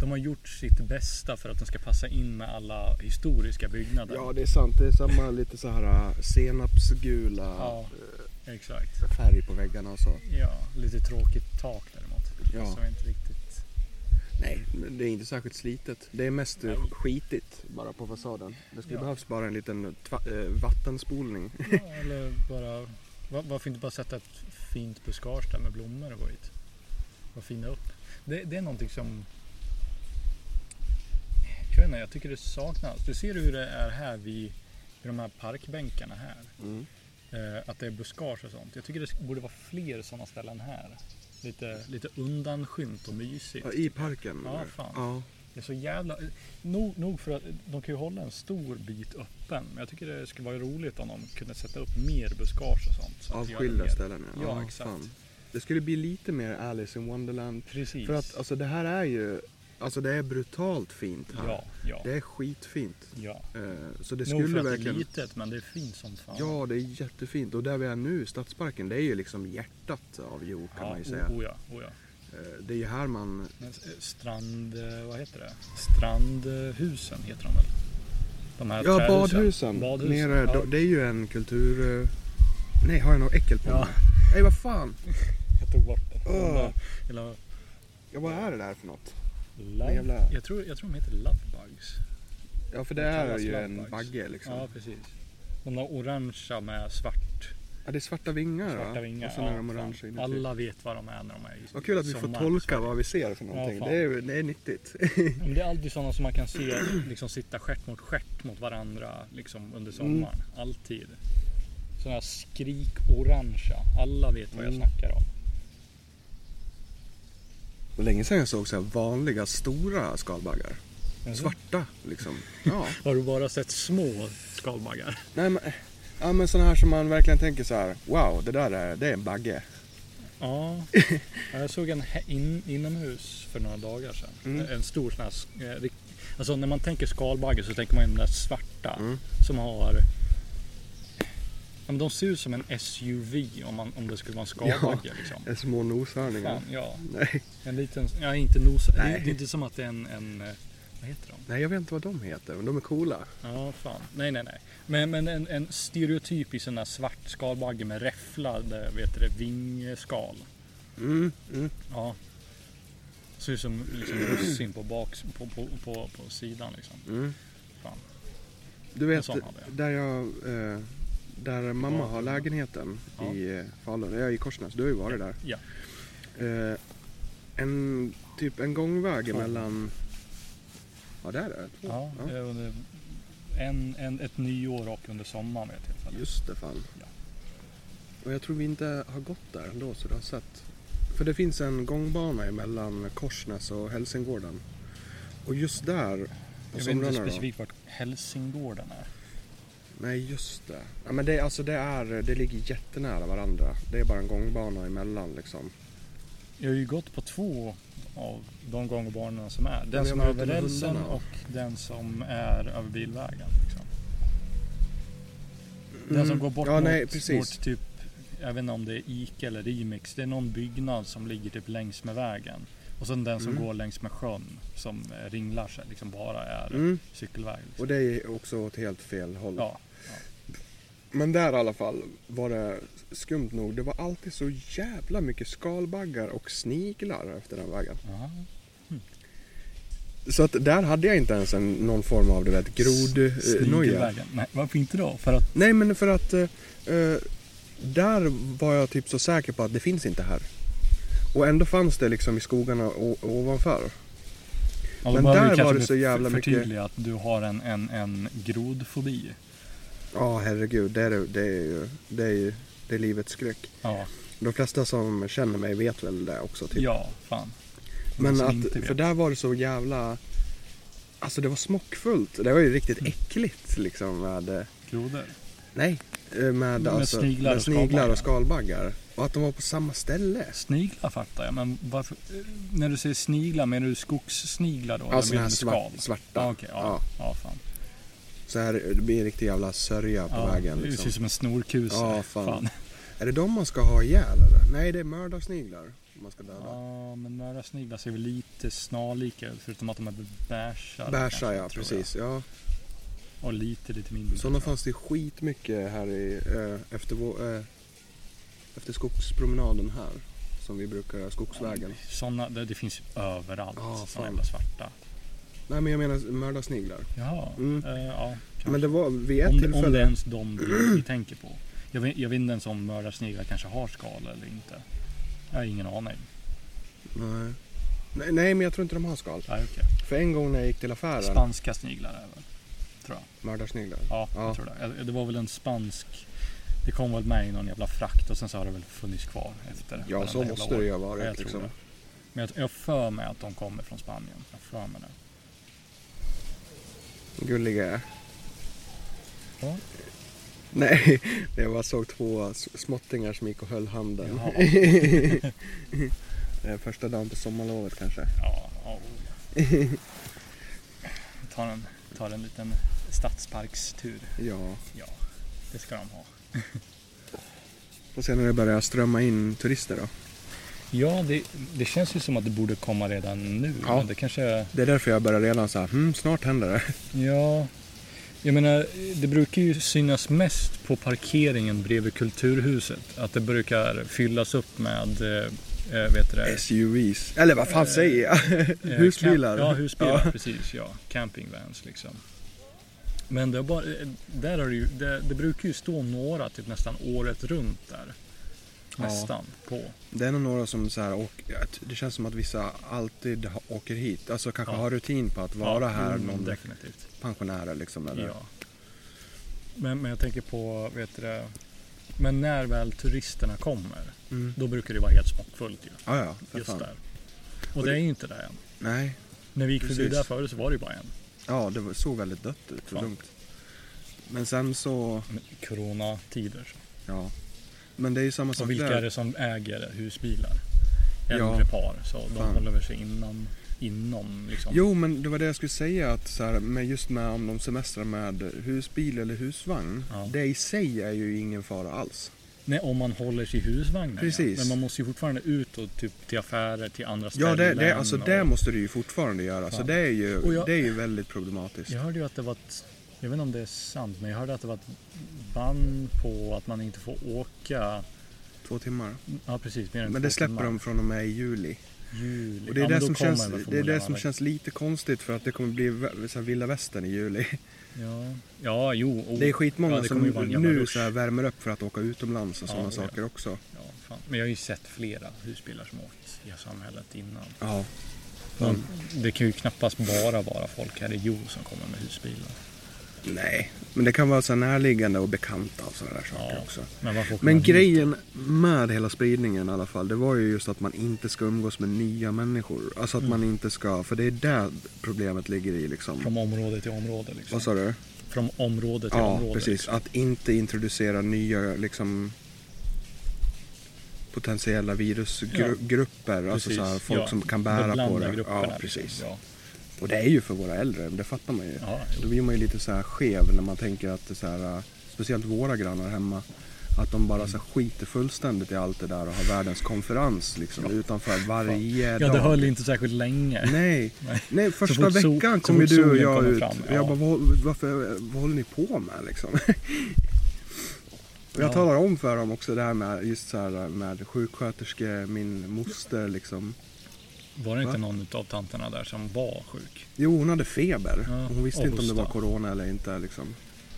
A: de har gjort sitt bästa för att den ska passa in med alla historiska byggnader.
B: Ja, det är sant. Det är samma lite så här äh, senapsgula
A: Ja, exakt.
B: äh, färg på väggarna och så.
A: Ja, lite tråkigt tak däremot.
B: Ja.
A: Som inte riktigt...
B: Nej, men det är inte särskilt slitet. Det är mest äh, skitigt bara på fasaden. Det skulle
A: Ja.
B: behövs bara en liten tva- äh, vattenspolning.
A: Ja, eller bara... va- Varför inte bara sätta ett fint buskage där med blommor och skit? Och fina upp. Det, det är någonting som... Jag vet inte, jag tycker det saknas. Du ser hur det är här vid, vid de här parkbänkarna här.
B: Mm.
A: Eh, att det är buskage och sånt. Jag tycker det sk- borde vara fler sådana ställen här. Lite, lite undanskymt och mysigt.
B: Ja, I parken?
A: Ja,
B: eller?
A: fan.
B: Ja.
A: Det är så jävla... Nog, nog för att de kan ju hålla en stor bit öppen. Men jag tycker det skulle vara roligt om de kunde sätta upp mer buskage och sånt. så att det gör det
B: Avskilda
A: mer-
B: ställen.
A: Ja, exakt.
B: Det skulle bli lite mer Alice in Wonderland.
A: Precis.
B: För att alltså det här är ju, alltså det är brutalt fint här.
A: Ja, ja.
B: Det är skitfint.
A: ja.
B: Eh, Så det
A: Nog för
B: skulle
A: att det är
B: verkligen...
A: litet men det är fint som fan.
B: Ja, det är jättefint. Och där vi är nu, Stadsparken, det är ju liksom hjärtat av Jo kan
A: ja,
B: man ju säga.
A: Oh, oh ja, oh ja.
B: Eh, Det är ju här man...
A: Men, eh, strand... eh, Vad heter det? Strandhusen heter de väl? De här
B: Ja,
A: trähusen.
B: badhusen.
A: Badhusen.
B: Nere,
A: ja.
B: då- Det är ju en kultur... eh, Nej, har jag något äckel på
A: Ja.
B: mig? Nej, vad fan!
A: Jag tog bort det.
B: Åh.
A: Jävla- jävla
B: Ja, vad är det där för något?
A: love-
B: Jävla-
A: Jag, tror, jag tror de heter Lovebugs.
B: Ja, för det
A: Det
B: är
A: kallas
B: ju en
A: lappbags.
B: bagge liksom.
A: Ja,
B: Ja.
A: precis. De där orangea med svart,
B: det är svarta vingar va?
A: svarta vingar.
B: Och sen är
A: Ja,
B: de
A: fan.
B: orangea inuti.
A: Alla vet vad de är när de är i
B: Vad kul att vi får
A: sommar.
B: tolka vad vi ser för någonting.
A: fan.
B: det, är, ju- det är nyttigt. <laughs>
A: Ja, Men det är alltid sådana som man kan se <clears throat> liksom, sitta stjärt mot stjärt mot varandra liksom,
B: Mm.
A: under sommaren. Alltid. Sådana här skrik-orangea. Alla vet vad jag
B: Mm.
A: snackar om.
B: Och länge sedan jag såg så här vanliga stora skalbaggar.
A: Mm.
B: Svarta liksom. Ja.
A: Har du bara sett små skalbaggar?
B: Nej, men, Ja men sådana här som man verkligen tänker så här. Wow, det där är, det är en bagge.
A: Ja, jag såg en he- in, inomhus för några dagar sedan.
B: Mm.
A: En stor sån här, s- eh, rikt- alltså när man tänker skalbagge så tänker man ju de där svarta
B: Mm.
A: som har Ja, men de ser ut som en SUV om, man, om det skulle vara en skalbagge.
B: <laughs>
A: Liksom.
B: En små noshörningar.
A: Fan, ja.
B: Nej.
A: En liten, ja inte nos, det
B: Nej.
A: är det är inte som att det är en, en eh, vad heter de?
B: Nej, jag vet inte vad de heter, men de är coola.
A: Ja, fan. Nej, nej, nej. Men, men en, en stereotypisk sån där svart skalbagge med räfflade, vet du det, vingskal.
B: Mm, mm.
A: Ja. Ser ut som liksom russin på, baks, på, på, på, på sidan liksom.
B: Mm.
A: Fan.
B: Du vet,
A: sån hade jag.
B: där jag... Eh, där mamma har lägenheten
A: Ja.
B: i eh, Falun, ja, i Korsnäs, du har ju varit där.
A: Ja.
B: Eh, en, typ en gångväg
A: Två.
B: mellan... Ja, där är det. Två.
A: ja.
B: Ja.
A: eh, och det- En, en, ett nyår och under sommaren vid ett tillfälle.
B: Just det, fan.
A: Ja.
B: Och jag tror vi inte har gått där ändå, så du har sett. För det finns en gångbana mellan Korsnäs och Hälsingården. Och just där, på
A: Jag vet inte
B: somrarna då.
A: specifikt vart Helsingården är.
B: Nej, just det. Ja, men det, alltså det, är, det ligger jättenära varandra. Det är bara en gångbana emellan liksom.
A: Jag har ju gått på två av de gångbanorna som är. Den
B: jag
A: som är
B: menar
A: över
B: väl
A: rälsen
B: hundarna.
A: och den som är över bilvägen. Liksom. Den som
B: Mm.
A: går bort
B: ja,
A: mot,
B: nej, precis.
A: mot typ, jag vet inte om det är Ica eller Remix, det är någon byggnad som ligger typ längs med vägen. Och sen den som
B: Mm.
A: går längs med sjön som eh, ringlar sig, liksom bara är
B: Mm.
A: cykelväg. Liksom.
B: Och det är också åt helt fel håll.
A: Ja,
B: Men där i alla fall var det skumt nog. Det var alltid så jävla mycket skalbaggar och sniglar efter den vägen.
A: Aha.
B: Så att där hade jag inte ens en, någon form av du vet grodnoja.
A: Snigelvägen. Nej, varför inte då? För att,
B: Nej men för att eh, eh, där var jag typ så säker på att det finns inte här. Och ändå fanns det liksom i skogarna o- ovanför.
A: ja, då
B: Men
A: behöver vi
B: där
A: kanske
B: var det så
A: för-
B: jävla mycket-
A: förtydliga att du har en, en, en grodfobi.
B: Ja herregud, det är, det- det är ju det är, ju, det är livets skräck.
A: Ja,
B: De flesta som känner mig vet väl det också typ.
A: ja fan.
B: Men
A: som
B: att,
A: inte vet.
B: för där var det så jävla... Alltså det var smockfullt. Det var ju riktigt äckligt liksom med... eh,
A: Grodor.
B: Nej, eh, med,
A: Med
B: alltså,
A: sniglar
B: med
A: och
B: sniglar och
A: skalbaggar.
B: skalbaggar. Och att de var på samma ställe.
A: Sniglar fattar jag, men varför? eh, När du säger sniglar, menar du skogssniglar då?
B: Ja,
A: eller menar
B: sådana Alltså, här
A: du
B: svart,
A: skal?
B: svarta.
A: Ja, okej. ja, ja, fan.
B: Så här, det blir en riktig jävla sörja på
A: Ja,
B: vägen
A: Det ser
B: liksom.
A: ut som en snorkuse.
B: Ja, fan. Är det de man ska ha ihjäl eller? Nej, det är mördarsniglar man ska döda.
A: Ja, men några sniglar ser väl lite snarlika ut, förutom att de är bärsar.
B: Bärsa
A: kanske,
B: ja,
A: tror
B: precis. Ja.
A: Jag. Och lite, lite mindre.
B: Sådana
A: tror
B: fanns det skitmycket här i, eh, efter, vår, eh, efter skogspromenaden här. Som vi brukar göra,
A: jag.
B: skogsvägen.
A: Sådana, det, det finns ju överallt.
B: Ja, fan.
A: sådana jävla svarta.
B: Nej men jag menar mördarsniglar.
A: Jaha,
B: Mm.
A: eh, ja. kanske.
B: Men det var vid ett
A: om, det-
B: tillfälle.
A: om det är ens de vi, vi tänker på. Jag vet, jag vet inte ens om mördarsniglar kanske har skal eller inte. Jag har ingen aning.
B: Nej. Nej, nej men jag tror inte de har skal.
A: Nej, okej.
B: För en gång när jag gick till affären.
A: Spanska sniglar är väl? Tror jag.
B: Mördarsniglar.
A: Ja,
B: Ja.
A: jag tror det. Eh, Det var väl en spansk... Det kom väl med i någon jävla frakt och sen så har det väl funnits kvar efter.
B: Ja så måste det ju ha varit.
A: jag
B: liksom.
A: tror det. Men jag, jag för mig att de kommer från Spanien. Jag för mig det.
B: Gulliga <laughs> är.
A: Ja.
B: Nej, jag bara såg två s- småttingar som gick och höll handen.
A: Jaha.
B: <laughs> Eh, Första dagen på sommarlovet kanske.
A: Ja, ja, oh,
B: <laughs>
A: ja. tar, en, tar en liten stadsparkstur.
B: Ja.
A: Ja, det ska de ha.
B: Och sen när det börjar strömma in turister då.
A: Ja, det, det känns ju som att det borde komma redan nu.
B: Ja.
A: men Det kanske...
B: Det är därför jag börjar redan så här, hmm, snart händer det.
A: Ja, jag menar, det brukar ju synas mest på parkeringen bredvid Kulturhuset. Att det brukar fyllas upp med, eh, eh, vet du det?
B: SUVs. Eller vad fan säger jag? <laughs>
A: Eh,
B: Husbilar.
A: Camp, ja, husbilar,
B: <laughs> Ja.
A: precis. Ja, campingvans liksom. Men det, har bara, eh, där har det, ju, det, det brukar ju stå några typ nästan året runt där.
B: Ja.
A: Nästan på.
B: Det är nog några som så här, åk, att det känns som att vissa alltid ha- åker hit. Alltså kanske
A: Ja.
B: har rutin på att vara här,
A: mm,
B: någon
A: Definitivt.
B: pensionärer liksom. Eller?
A: Ja. Men, men jag tänker på, vet du det, men när väl turisterna kommer,
B: Mm.
A: då brukar det vara helt smockfullt ju.
B: Ja, ja, för
A: Just
B: fan.
A: där. Och det är ju inte det än.
B: Nej,
A: När vi gick förbi
B: Precis.
A: där förut så var det ju bara en.
B: ja det var- såg väldigt dött ut och
A: Fan.
B: lugnt. Men sen så,
A: Corona-tider.
B: ja. Men det är ju samma sak
A: Och vilka är
B: där.
A: det som äger husbilar?
B: Ja.
A: Äldre par, så de
B: Fan.
A: håller väl sig innan, inom liksom.
B: Jo, men det var det jag skulle säga att så här, med just med om de semestrar med husbil eller husvagn.
A: Ja.
B: Det i sig är ju ingen fara alls.
A: Nej, om man håller sig i husvagnen. ja.
B: Precis.
A: Men man måste ju fortfarande ut och typ till affärer, till andra ställen.
B: Ja, det, det, alltså det
A: och...
B: måste du ju fortfarande göra. Så
A: Fan.
B: det är ju,
A: Och jag-
B: det är ju väldigt problematiskt.
A: Jag hörde ju att det var ett, jag vet inte om det är sant, men jag hörde att det var ett ban på att man inte får åka,
B: Två timmar.
A: ja precis, mer än
B: Men
A: två
B: det släpper
A: timmar.
B: de från och med i juli.
A: Juli.
B: Och det är,
A: Ja, men
B: det,
A: då
B: som
A: kommer
B: känns,
A: väl
B: det är det
A: förmodligen
B: som
A: alla-
B: känns lite konstigt för att det kommer bli vä- så här vilda västern i juli.
A: Ja, ja jo. Oh.
B: Det är skitmånga
A: ja, det
B: som
A: kommer ju vara en jävla
B: nu
A: rush.
B: så här värmer upp för att åka utomlands och
A: Ja,
B: sådana
A: ja.
B: saker också.
A: Ja, fan. Men jag har ju sett flera husbilar som åkt i samhället innan.
B: Ja.
A: Men Det kan ju knappast bara vara folk här i Jo som kommer med husbilar.
B: Nej, men det kan vara så här närliggande och bekanta och sådana där saker också.
A: Men, varför åker
B: Men
A: man hit?
B: grejen med hela spridningen i alla fall, det var ju just att man inte ska umgås med nya människor. Alltså
A: Mm.
B: att man inte ska, för det är där problemet ligger i liksom.
A: Från område till område liksom.
B: Vad sa du?
A: Från område till
B: Ja,
A: område.
B: precis.
A: liksom.
B: Att inte introducera nya liksom potentiella virusgrupper. Alltså
A: Precis.
B: så här, folk
A: Ja,
B: som kan bära på
A: beblanda
B: det.
A: grupperna,
B: Ja,
A: liksom.
B: precis.
A: Ja.
B: Och det är ju för våra äldre, det fattar man ju.
A: Ja, jo.
B: Då blir man ju lite så här skev när man tänker att det är så här, äh, speciellt våra grannar hemma, att de bara så här skiter fullständigt i allt det där och har världens konferens liksom utanför varje
A: ja,
B: dag.
A: det höll inte särskilt länge.
B: Nej,
A: <laughs> Nej.
B: nej första
A: fort sol-
B: veckan
A: så
B: kom ju
A: fort
B: du och
A: solen
B: jag
A: kommer
B: ut.
A: fram,
B: Jag
A: ja.
B: bara, vad, varför, vad håller ni på med liksom? <laughs> Och Jag
A: Ja.
B: talar om för dem också det här med just så här med sjuksköterske, min moster liksom.
A: Var det inte
B: Va?
A: någon av tanterna där som var sjuk?
B: Jo, hon hade feber.
A: Ja,
B: hon visste
A: och
B: inte om det var
A: hosta.
B: corona eller inte liksom.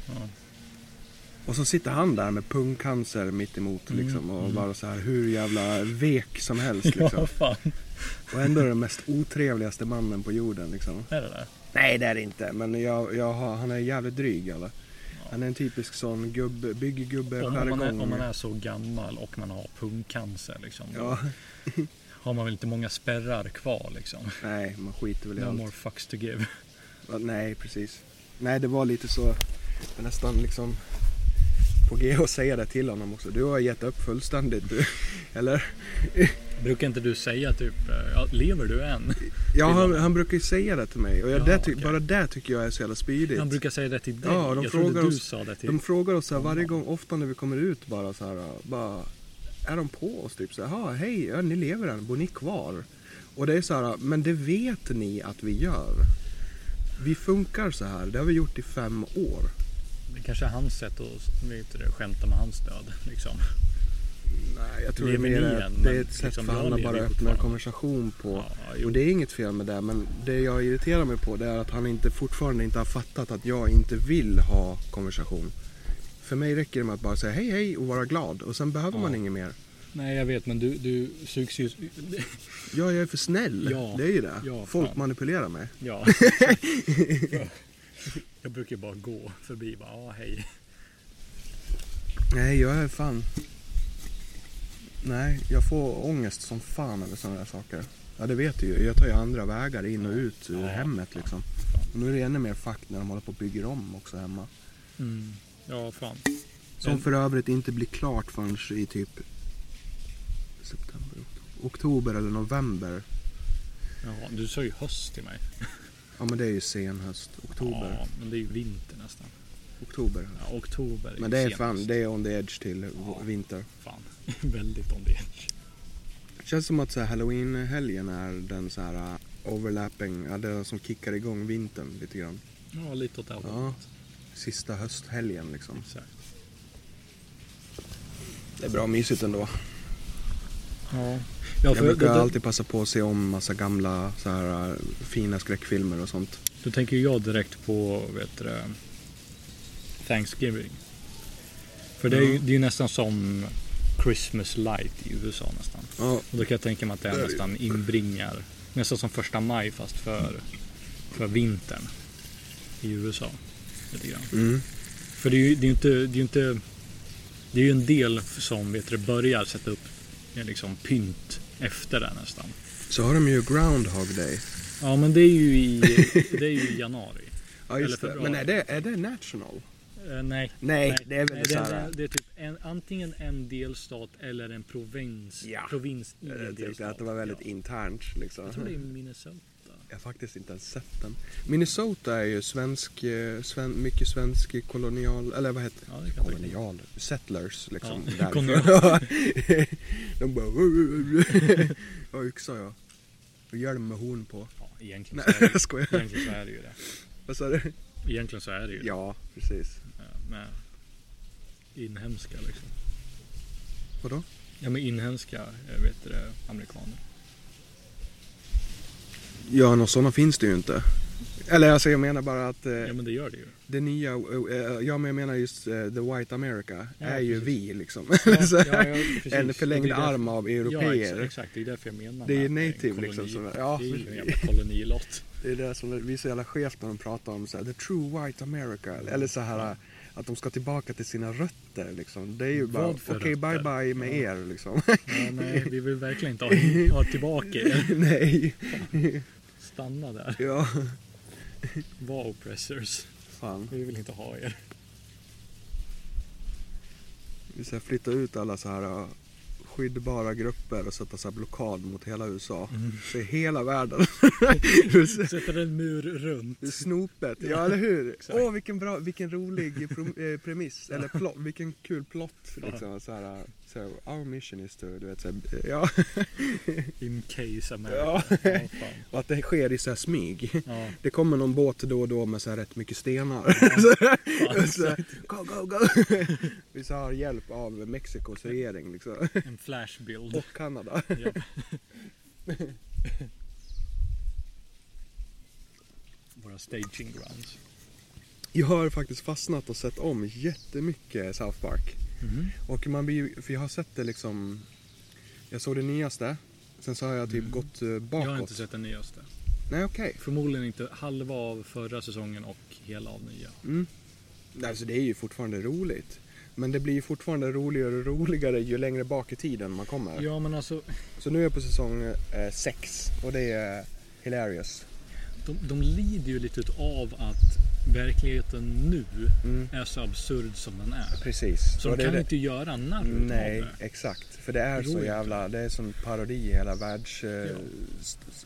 A: Ja.
B: Och så sitter han där med pungcancer mitt emot liksom och bara så här hur jävla vek som helst liksom.
A: Mm. Ja, fan.
B: Och ändå är den mest otrevligaste mannen på jorden liksom.
A: Är det där?
B: Nej det är det inte, men jag, jag har, han är jävligt dryg eller? Han är en typisk sån gubb, bygggubbe,
A: Om, om, man är, om man
B: skärgång.
A: är så gammal och man har pungcancer liksom. då
B: Ja,
A: Har man väl inte många spärrar kvar liksom.
B: nej man skiter väl i
A: No
B: allt.
A: more fucks to give.
B: Ja, Nej precis. Nej det var lite så, jag var nästan liksom på G att säga det till honom också. Du har gett upp fullständigt du. <laughs> Eller?
A: Brukar inte du säga typ, eh, ja, lever du än?
B: Ja,
A: Till
B: han,
A: honom.
B: han brukar ju säga det till mig. Och jag,
A: Jaha,
B: det ty-
A: okej.
B: Bara det tycker jag är så jävla spydigt.
A: Han brukar säga det till dig.
B: Ja, de
A: jag trodde
B: frågar
A: du
B: oss-
A: sa det till...
B: De frågar oss så här varje gång, ofta när vi kommer ut bara så här, bara, är de på oss typ så här, "Ja, hej, ja, ni lever än, bor ni kvar? Och det är så här, men det vet ni att vi gör. Vi funkar så här, det har vi gjort i fem år.
A: Det kanske är hans sätt att vet du, det, skämta med hans död. Liksom.
B: Nej, jag tror det är
A: Lever
B: mer
A: ni
B: att
A: än,
B: det är
A: men
B: ett sätt
A: liksom,
B: för
A: jag
B: han att
A: lever
B: bara
A: ju
B: öppna en
A: fortfarande.
B: konversation på.
A: Ja, jo.
B: och det är inget fel med det, men det jag irriterar mig på det är att han inte, fortfarande inte har fattat att jag inte vill ha konversation. För mig räcker det med att bara säga hej hej och vara glad och sen behöver man inget mer.
A: Nej, jag vet, men du, du sugs ju...
B: Ja, jag är för snäll.
A: Ja.
B: Det är ju det.
A: Ja,
B: Folk
A: fan.
B: manipulerar mig.
A: Ja. <laughs> jag brukar bara gå förbi bara, ja hej.
B: Nej, jag är fan... Nej, jag får ångest som fan över sådana där saker. Ja, det vet du ju. Jag tar ju andra vägar in och ut ur
A: Ja,
B: hemmet
A: fan.
B: liksom. Och nu är det ännu mer fack när de håller på och bygger om också hemma.
A: Mm. Ja, fan.
B: Som
A: Men-
B: för övrigt inte blir klart förrän i typ september, oktober, oktober eller november.
A: Jaha, du sa ju höst till mig.
B: Ja, men det är ju sen höst. Oktober.
A: Ja, men det är ju vinter nästan.
B: Oktober.
A: Ja, oktober ju
B: Men det är
A: sen
B: fan,
A: höst.
B: det är on the edge till v- vinter.
A: fan. <laughs> Väldigt on the edge.
B: Känns som att så här halloween-helgen är den så här uh, overlapping, ja, den som kickar igång vintern lite grann.
A: Ja, lite åt det här
B: Ja.
A: hållet.
B: Sista hösthelgen liksom.
A: Exakt.
B: Det är bra mysigt ändå.
A: Ja.
B: Jag
A: för
B: brukar
A: då- då-
B: alltid passa på att se om massa gamla så här uh, fina skräckfilmer och sånt.
A: Då tänker jag direkt på vet du, det, Thanksgiving. För det är ju
B: Ja.
A: det är ju nästan som Christmas light i USA nästan.
B: Ja,
A: Och då kan jag tänka mig att det
B: Det är
A: är
B: det
A: nästan inbringar, nästan som första maj fast för, för vintern i USA. Lite grann.
B: mm.
A: För det är ju det är ju inte, det är ju inte, det är ju en del som vet du, det, börjar sätta upp eh, liksom pynt efter det nästan.
B: Så har de ju Groundhog Day.
A: Ja men det är ju i, det är ju i januari.
B: Ja,
A: Eller
B: just det.
A: februari.
B: Men är det, är det national?
A: Eh, nej.
B: Nej, det är väl
A: Nej,
B: det
A: det,
B: så
A: är,
B: här.
A: det är typ en, antingen en delstat eller en provins,
B: Ja.
A: provins i en
B: Jag tyckte
A: delstat.
B: att det var väldigt
A: ja.
B: internt liksom.
A: Jag tror det är Minnesota.
B: Jag har faktiskt inte ens sett den. Minnesota är ju svensk, eh, sven, mycket svensk kolonial, eller vad heter
A: Ja, det kan det vara.
B: Kolonial? Settlers liksom.
A: Ja,
B: <laughs> därifrån. De bara... <laughs> Jag yxa jag. Och hjälm med horn på.
A: Ja, egentligen,
B: Nej,
A: så är det,
B: jag skojar.
A: egentligen så är det ju det.
B: Vad sa du?
A: Egentligen så är det ju det.
B: Ja, precis.
A: Eh, Med inhemska liksom.
B: Vadå?
A: Ja, med inhemska eh, vet du, det, amerikaner.
B: Ja, några sådana finns det ju inte. Eller alltså jag menar bara att eh,
A: Ja, men det gör
B: <laughs>
A: det ju.
B: det nya, eh, ja men jag menar just eh, the white America
A: Ja,
B: är ju
A: precis.
B: vi liksom. <laughs>
A: Ja,
B: Så
A: ja,
B: här,
A: ja, precis.
B: en
A: Och
B: förlängd
A: det är därför-
B: arm av
A: Ja,
B: europeer.
A: exakt, exakt. Det är därför jag menar
B: Det är ju
A: med
B: native
A: en koloni.
B: liksom som är- ja,
A: det är ju en
B: precis.
A: jävla kolonilott.
B: Det är det som vi är så jävla skevt när de pratar om så här, the true white America. Eller så här att de ska tillbaka till sina rötter liksom. Det är ju bara
A: Vad för
B: okej bye
A: rötter?
B: bye med er <laughs> liksom.
A: Ja, nej, vi vill verkligen inte
B: <laughs>
A: ha, ha tillbaka er.
B: Nej.
A: Stanna där.
B: Ja.
A: Var oppressors.
B: Fan.
A: Vi vill inte ha er.
B: Vi ska flytta ut alla så här uh, skyddbara grupper och sätta så här blockad mot hela USA. Så i hela <laughs> världen.
A: Sätter en mur runt.
B: Snopet, ja eller hur?
A: exakt.
B: Åh vilken bra, vilken rolig prom- eh, premiss, eller plott, vilken kul plott liksom. Så här, uh, så här, our mission is to, du vet så här, eh, ja.
A: In case America.
B: Ja.
A: Ja, fan.
B: Och att det sker i så här smyg.
A: ja.
B: Det kommer någon båt då och då med så här rätt mycket stenar. <laughs> Så här, och så här, go, go, go! Vi så har hjälp av Mexikos regering liksom.
A: En flashbild.
B: Och Kanada.
A: Ja. <laughs> Våra staging grounds.
B: Jag har faktiskt fastnat och sett om jättemycket South Park.
A: Mhm.
B: Och man blir ju- för jag har sett det liksom, jag såg det nyaste. Sen så har jag typ gått eh, bakåt.
A: Mm. Jag har inte sett den nyaste.
B: Nej okej.
A: Förmodligen inte halva av förra säsongen och hela av nya.
B: Nej, Alltså det är ju fortfarande roligt. Men det blir ju fortfarande roligare och roligare ju längre bak i tiden man kommer.
A: Ja men alltså,
B: Så nu är jag på säsong 6 och det är Hilarious.
A: de, de lider ju lite av att verkligheten nu
B: Mm.
A: är så absurd som den är.
B: Precis.
A: Så
B: Och
A: de
B: det
A: kan
B: är det-
A: inte göra narr utav
B: Nej,
A: det.
B: exakt. För det är
A: Det går
B: så
A: ju
B: jävla, det är som parodi i hela eh,
A: Ja.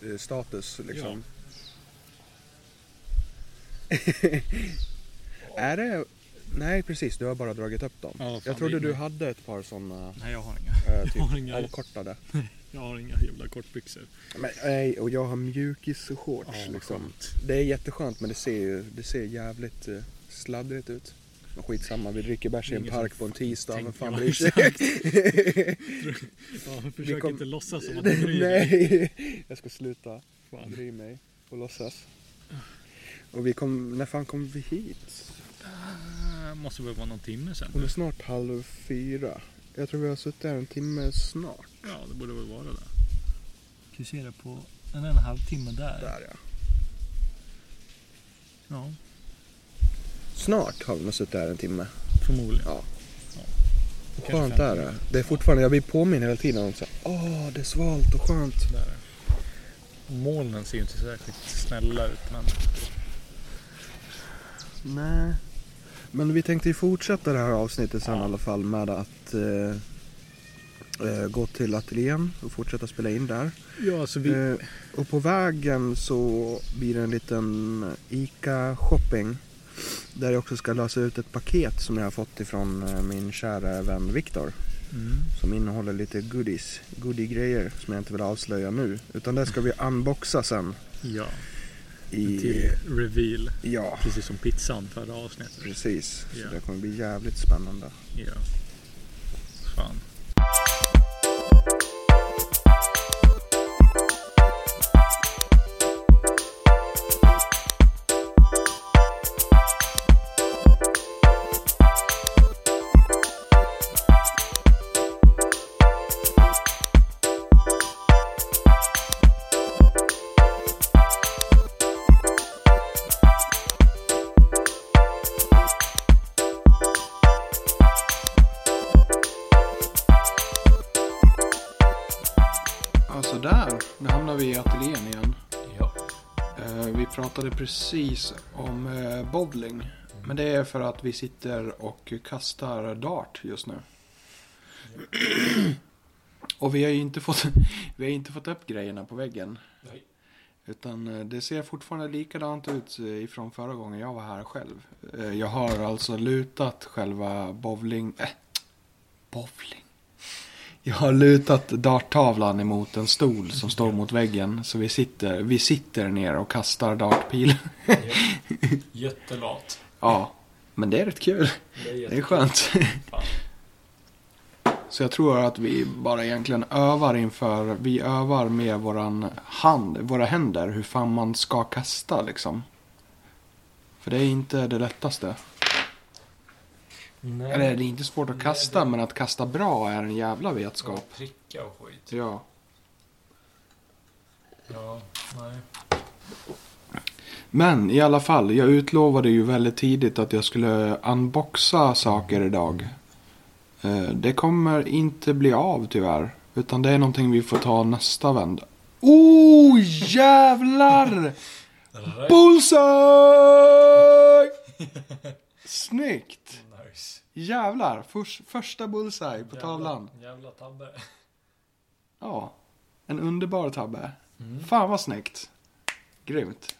B: världsstatus eh, liksom. <laughs> är det... Nej precis, du har bara dragit upp dem.
A: Ja, fan,
B: jag trodde
A: det-
B: du hade ett par sådana
A: Nej <laughs> jag har inga.
B: äh, typ
A: har inga.
B: avkortade.
A: Jag har inga jävla kortbyxor.
B: Men, nej, och jag har mjukis och shorts
A: Ja, vad
B: liksom.
A: skönt.
B: Det är jätteskönt men det ser ju det ser jävligt eh, sladdrigt ut. Men skitsamma, vi dricker bärs i en
A: Ingen som
B: park på en tisdag. Vem
A: tänker
B: fan
A: på
B: bryr sig?
A: Ja, försök
B: kom-
A: inte låtsas <laughs> som att du bryr dig.
B: Nej, jag ska sluta
A: Fan.
B: bry mig och låtsas. Och vi kom, när fan kom vi hit?
A: Äh, Måste väl vara någon timme sen.
B: Hon är snart halv fyra. Jag tror vi har suttit här en timme snart.
A: Ja, det borde väl vara det. Kan se det på en och en halv timme
B: Där ja.
A: Ja,
B: Snart har vi nog suttit här en timme.
A: förmodligen.
B: Ja.
A: Ja.
B: Och skönt är det. Det är fortfarande, jag blir påminn hela tiden om så här, åh det är svalt och skönt.
A: Där. är det. Molnen ser ju inte särskilt snälla ut, men
B: Nej. Men vi tänkte ju fortsätta det här avsnittet sen i alla fall med att eh, eh, gå till ateljén och fortsätta spela in där.
A: Ja, alltså vi...
B: Eh, och på vägen så blir det en liten ICA shopping. Där jag också ska lösa ut ett paket som jag har fått ifrån eh, min kära vän Viktor.
A: Mm.
B: Som innehåller lite goodies, goodie-grejer som jag inte vill avslöja nu. Utan det ska vi unboxa sen.
A: Ja,
B: I,
A: till reveal.
B: Ja,
A: Precis som pizzan förra avsnittet.
B: precis.
A: Ja.
B: Så det kommer bli jävligt spännande.
A: Ja. Fan.
B: Alltså där, nu hamnar vi i ateljén igen.
A: Ja.
B: Eh, vi pratade precis om eh, bowling Men det är för att vi sitter och kastar dart just nu. <clears throat> Och vi har ju inte fått, <laughs> vi har inte fått upp grejerna på väggen.
C: Nej.
B: Utan eh, det ser fortfarande likadant ut eh, ifrån förra gången jag var här själv. Eh, Jag har alltså lutat själva bowling... Äh, bowling? Jag har lutat darttavlan emot en stol som står mot väggen. Så vi sitter, vi sitter ner och kastar dartpilen.
C: Jättelat.
B: <laughs> Ja, men det är rätt kul. Det är skönt. <laughs>
C: Fan.
B: Så jag tror att vi bara egentligen övar inför, vi övar med våran hand, våra händer, hur fan man ska kasta liksom. För det är inte det lättaste.
C: Nej.
B: Eller det är inte svårt att
C: Nej,
B: kasta,
C: det-
B: men att kasta bra är en jävla vetskap.
C: Pricka och skit.
B: Ja.
C: Ja, nej.
B: Men i alla fall, jag utlovade ju väldigt tidigt att jag skulle unboxa saker idag. Eh, Det kommer inte bli av tyvärr. Utan det är någonting vi får ta nästa vända. Oh jävlar! Bullseye! Snyggt!
C: Nice.
B: Jävlar, förs- första bullseye på tavlan.
C: Jävla, jävla tabbe.
B: Ja, en underbar tabbe. Fan vad snyggt.
C: <laughs>
B: Grymt.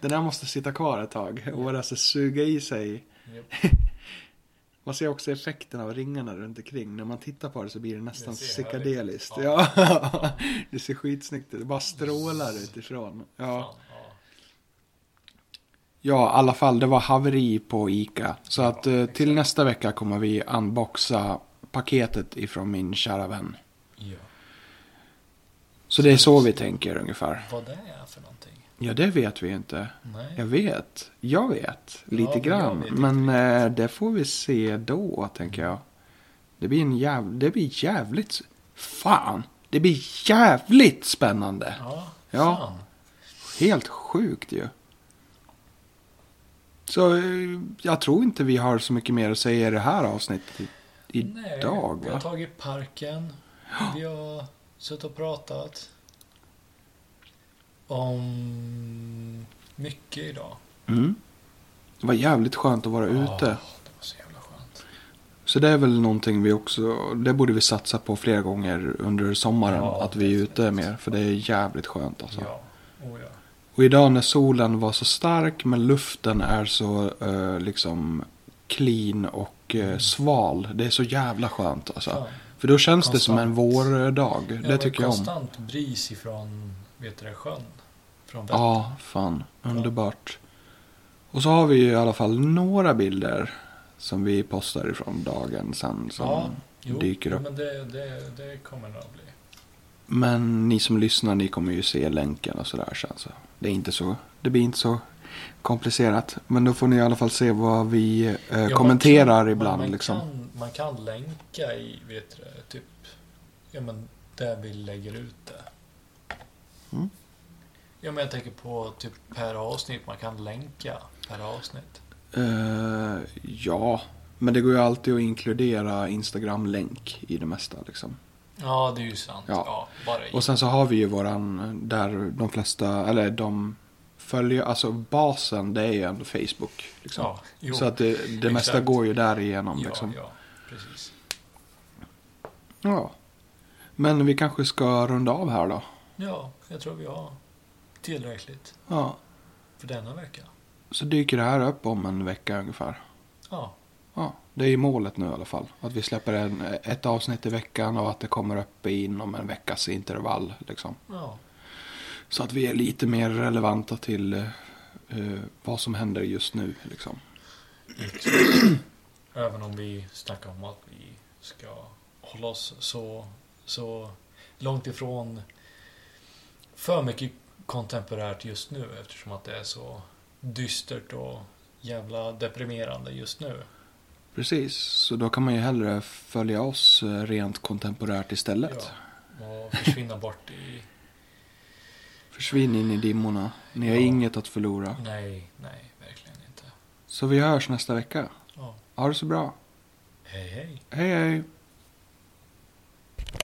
B: Den där måste sitta kvar ett tag och bara så suga i sig.
C: Japp.
B: <laughs> Man ser också effekten av ringarna runt omkring. När man tittar på det så blir det nästan
C: Det ser härligt
B: psykedeliskt.
C: ut.
B: Ja. <laughs> Det ser skitsnyggt ut. Det bara strålar utifrån. Ja.
C: Fan, ja.
B: ja, i alla fall det var haveri på ICA. Så att eh, till nästa vecka kommer vi unboxa paketet ifrån min kära vän.
C: ja.
B: Så det är så vi tänker ungefär.
C: Vad det är för någonting?
B: Ja, det vet vi inte.
C: Nej.
B: Jag vet. Jag vet. Lite
C: men jag
B: grann.
C: vet inte
B: Men eh, det får vi se då, tänker jag. Det blir en jäv... Det blir jävligt... Fan! Det blir jävligt spännande.
C: Ja.
B: Ja.
C: Fan.
B: Helt sjukt ju. Så eh, jag tror inte vi har så mycket mer att säga i det här avsnittet i-
C: Nej,
B: idag.
C: Vi har
B: Va?
C: tagit parken. Vi har suttit och pratat. Om mycket idag.
B: Mm. Det var jävligt skönt att vara ute.
C: Ja, det var så jävla skönt.
B: Så det är väl någonting vi också, det borde vi satsa på fler gånger under sommaren.
C: Ja,
B: att vi är ute
C: definitivt.
B: mer, för det är jävligt skönt alltså.
C: Ja. Oh, ja.
B: Och idag när solen var så stark men luften är så eh, liksom clean och
C: Mm.
B: eh, sval. Det är så jävla skönt alltså.
C: Fan.
B: För då känns det som en
C: Konstant.
B: vårdag.
C: Ja,
B: Det tycker jag om.
C: konstant bris ifrån, vet du det, sjön. Från Vättern.
B: Ja, fan. Underbart. Och så har vi ju i alla fall några bilder som vi postar ifrån dagen sen. Som...
C: Ja, jo,
B: dyker upp.
C: Men det, det, det kommer nog att bli.
B: Men ni som lyssnar, ni kommer ju se länken och sådär sen. Så det, är inte så, det blir inte så komplicerat. Men då får ni i alla fall se vad vi eh,
C: Ja, man
B: kommenterar
C: kan-
B: ibland.
C: man, man
B: liksom.
C: Kan, man kan länka i, vet du det, typ, ja men där vi lägger ut det.
B: Mm.
C: Ja men jag tänker på typ per avsnitt, man kan länka per avsnitt.
B: Eh, ja, men det går ju alltid att inkludera Instagram-länk i det mesta. Liksom.
C: Ja, det är ju sant.
B: Ja.
C: Ja, bara i.
B: Och sen så har vi ju våran, där de flesta, eller de följer, alltså basen det är ju ändå Facebook. Liksom.
C: ja, jo,
B: så att det, det mesta
C: exakt.
B: går ju därigenom.
C: ja,
B: liksom.
C: ja, precis.
B: Ja. Men vi kanske ska runda av här då.
C: Ja, jag tror vi har tillräckligt
B: Ja.
C: för denna vecka.
B: Så dyker det här upp om en vecka ungefär.
C: Ja,
B: Ja, det är ju målet nu i alla fall. Att vi släpper en, ett avsnitt i veckan och att det kommer upp inom en veckas intervall. Liksom.
C: ja,
B: Så att vi är lite mer relevanta till eh, vad som händer just nu. Liksom.
C: även om vi snackar om att vi ska hålla oss så, så långt ifrån för mycket kontemporärt just nu eftersom att det är så dystert och jävla deprimerande just nu.
B: Precis, så då kan man ju hellre följa oss eh, rent kontemporärt istället.
C: Ja, och försvinna bort i...
B: Försvinn in i dimmorna. Ni har
C: Ja.
B: inget att förlora.
C: Nej, nej, verkligen inte.
B: Så vi hörs nästa vecka.
C: Ja.
B: Ha det så bra.
C: Hej, hej.
B: Hej hej!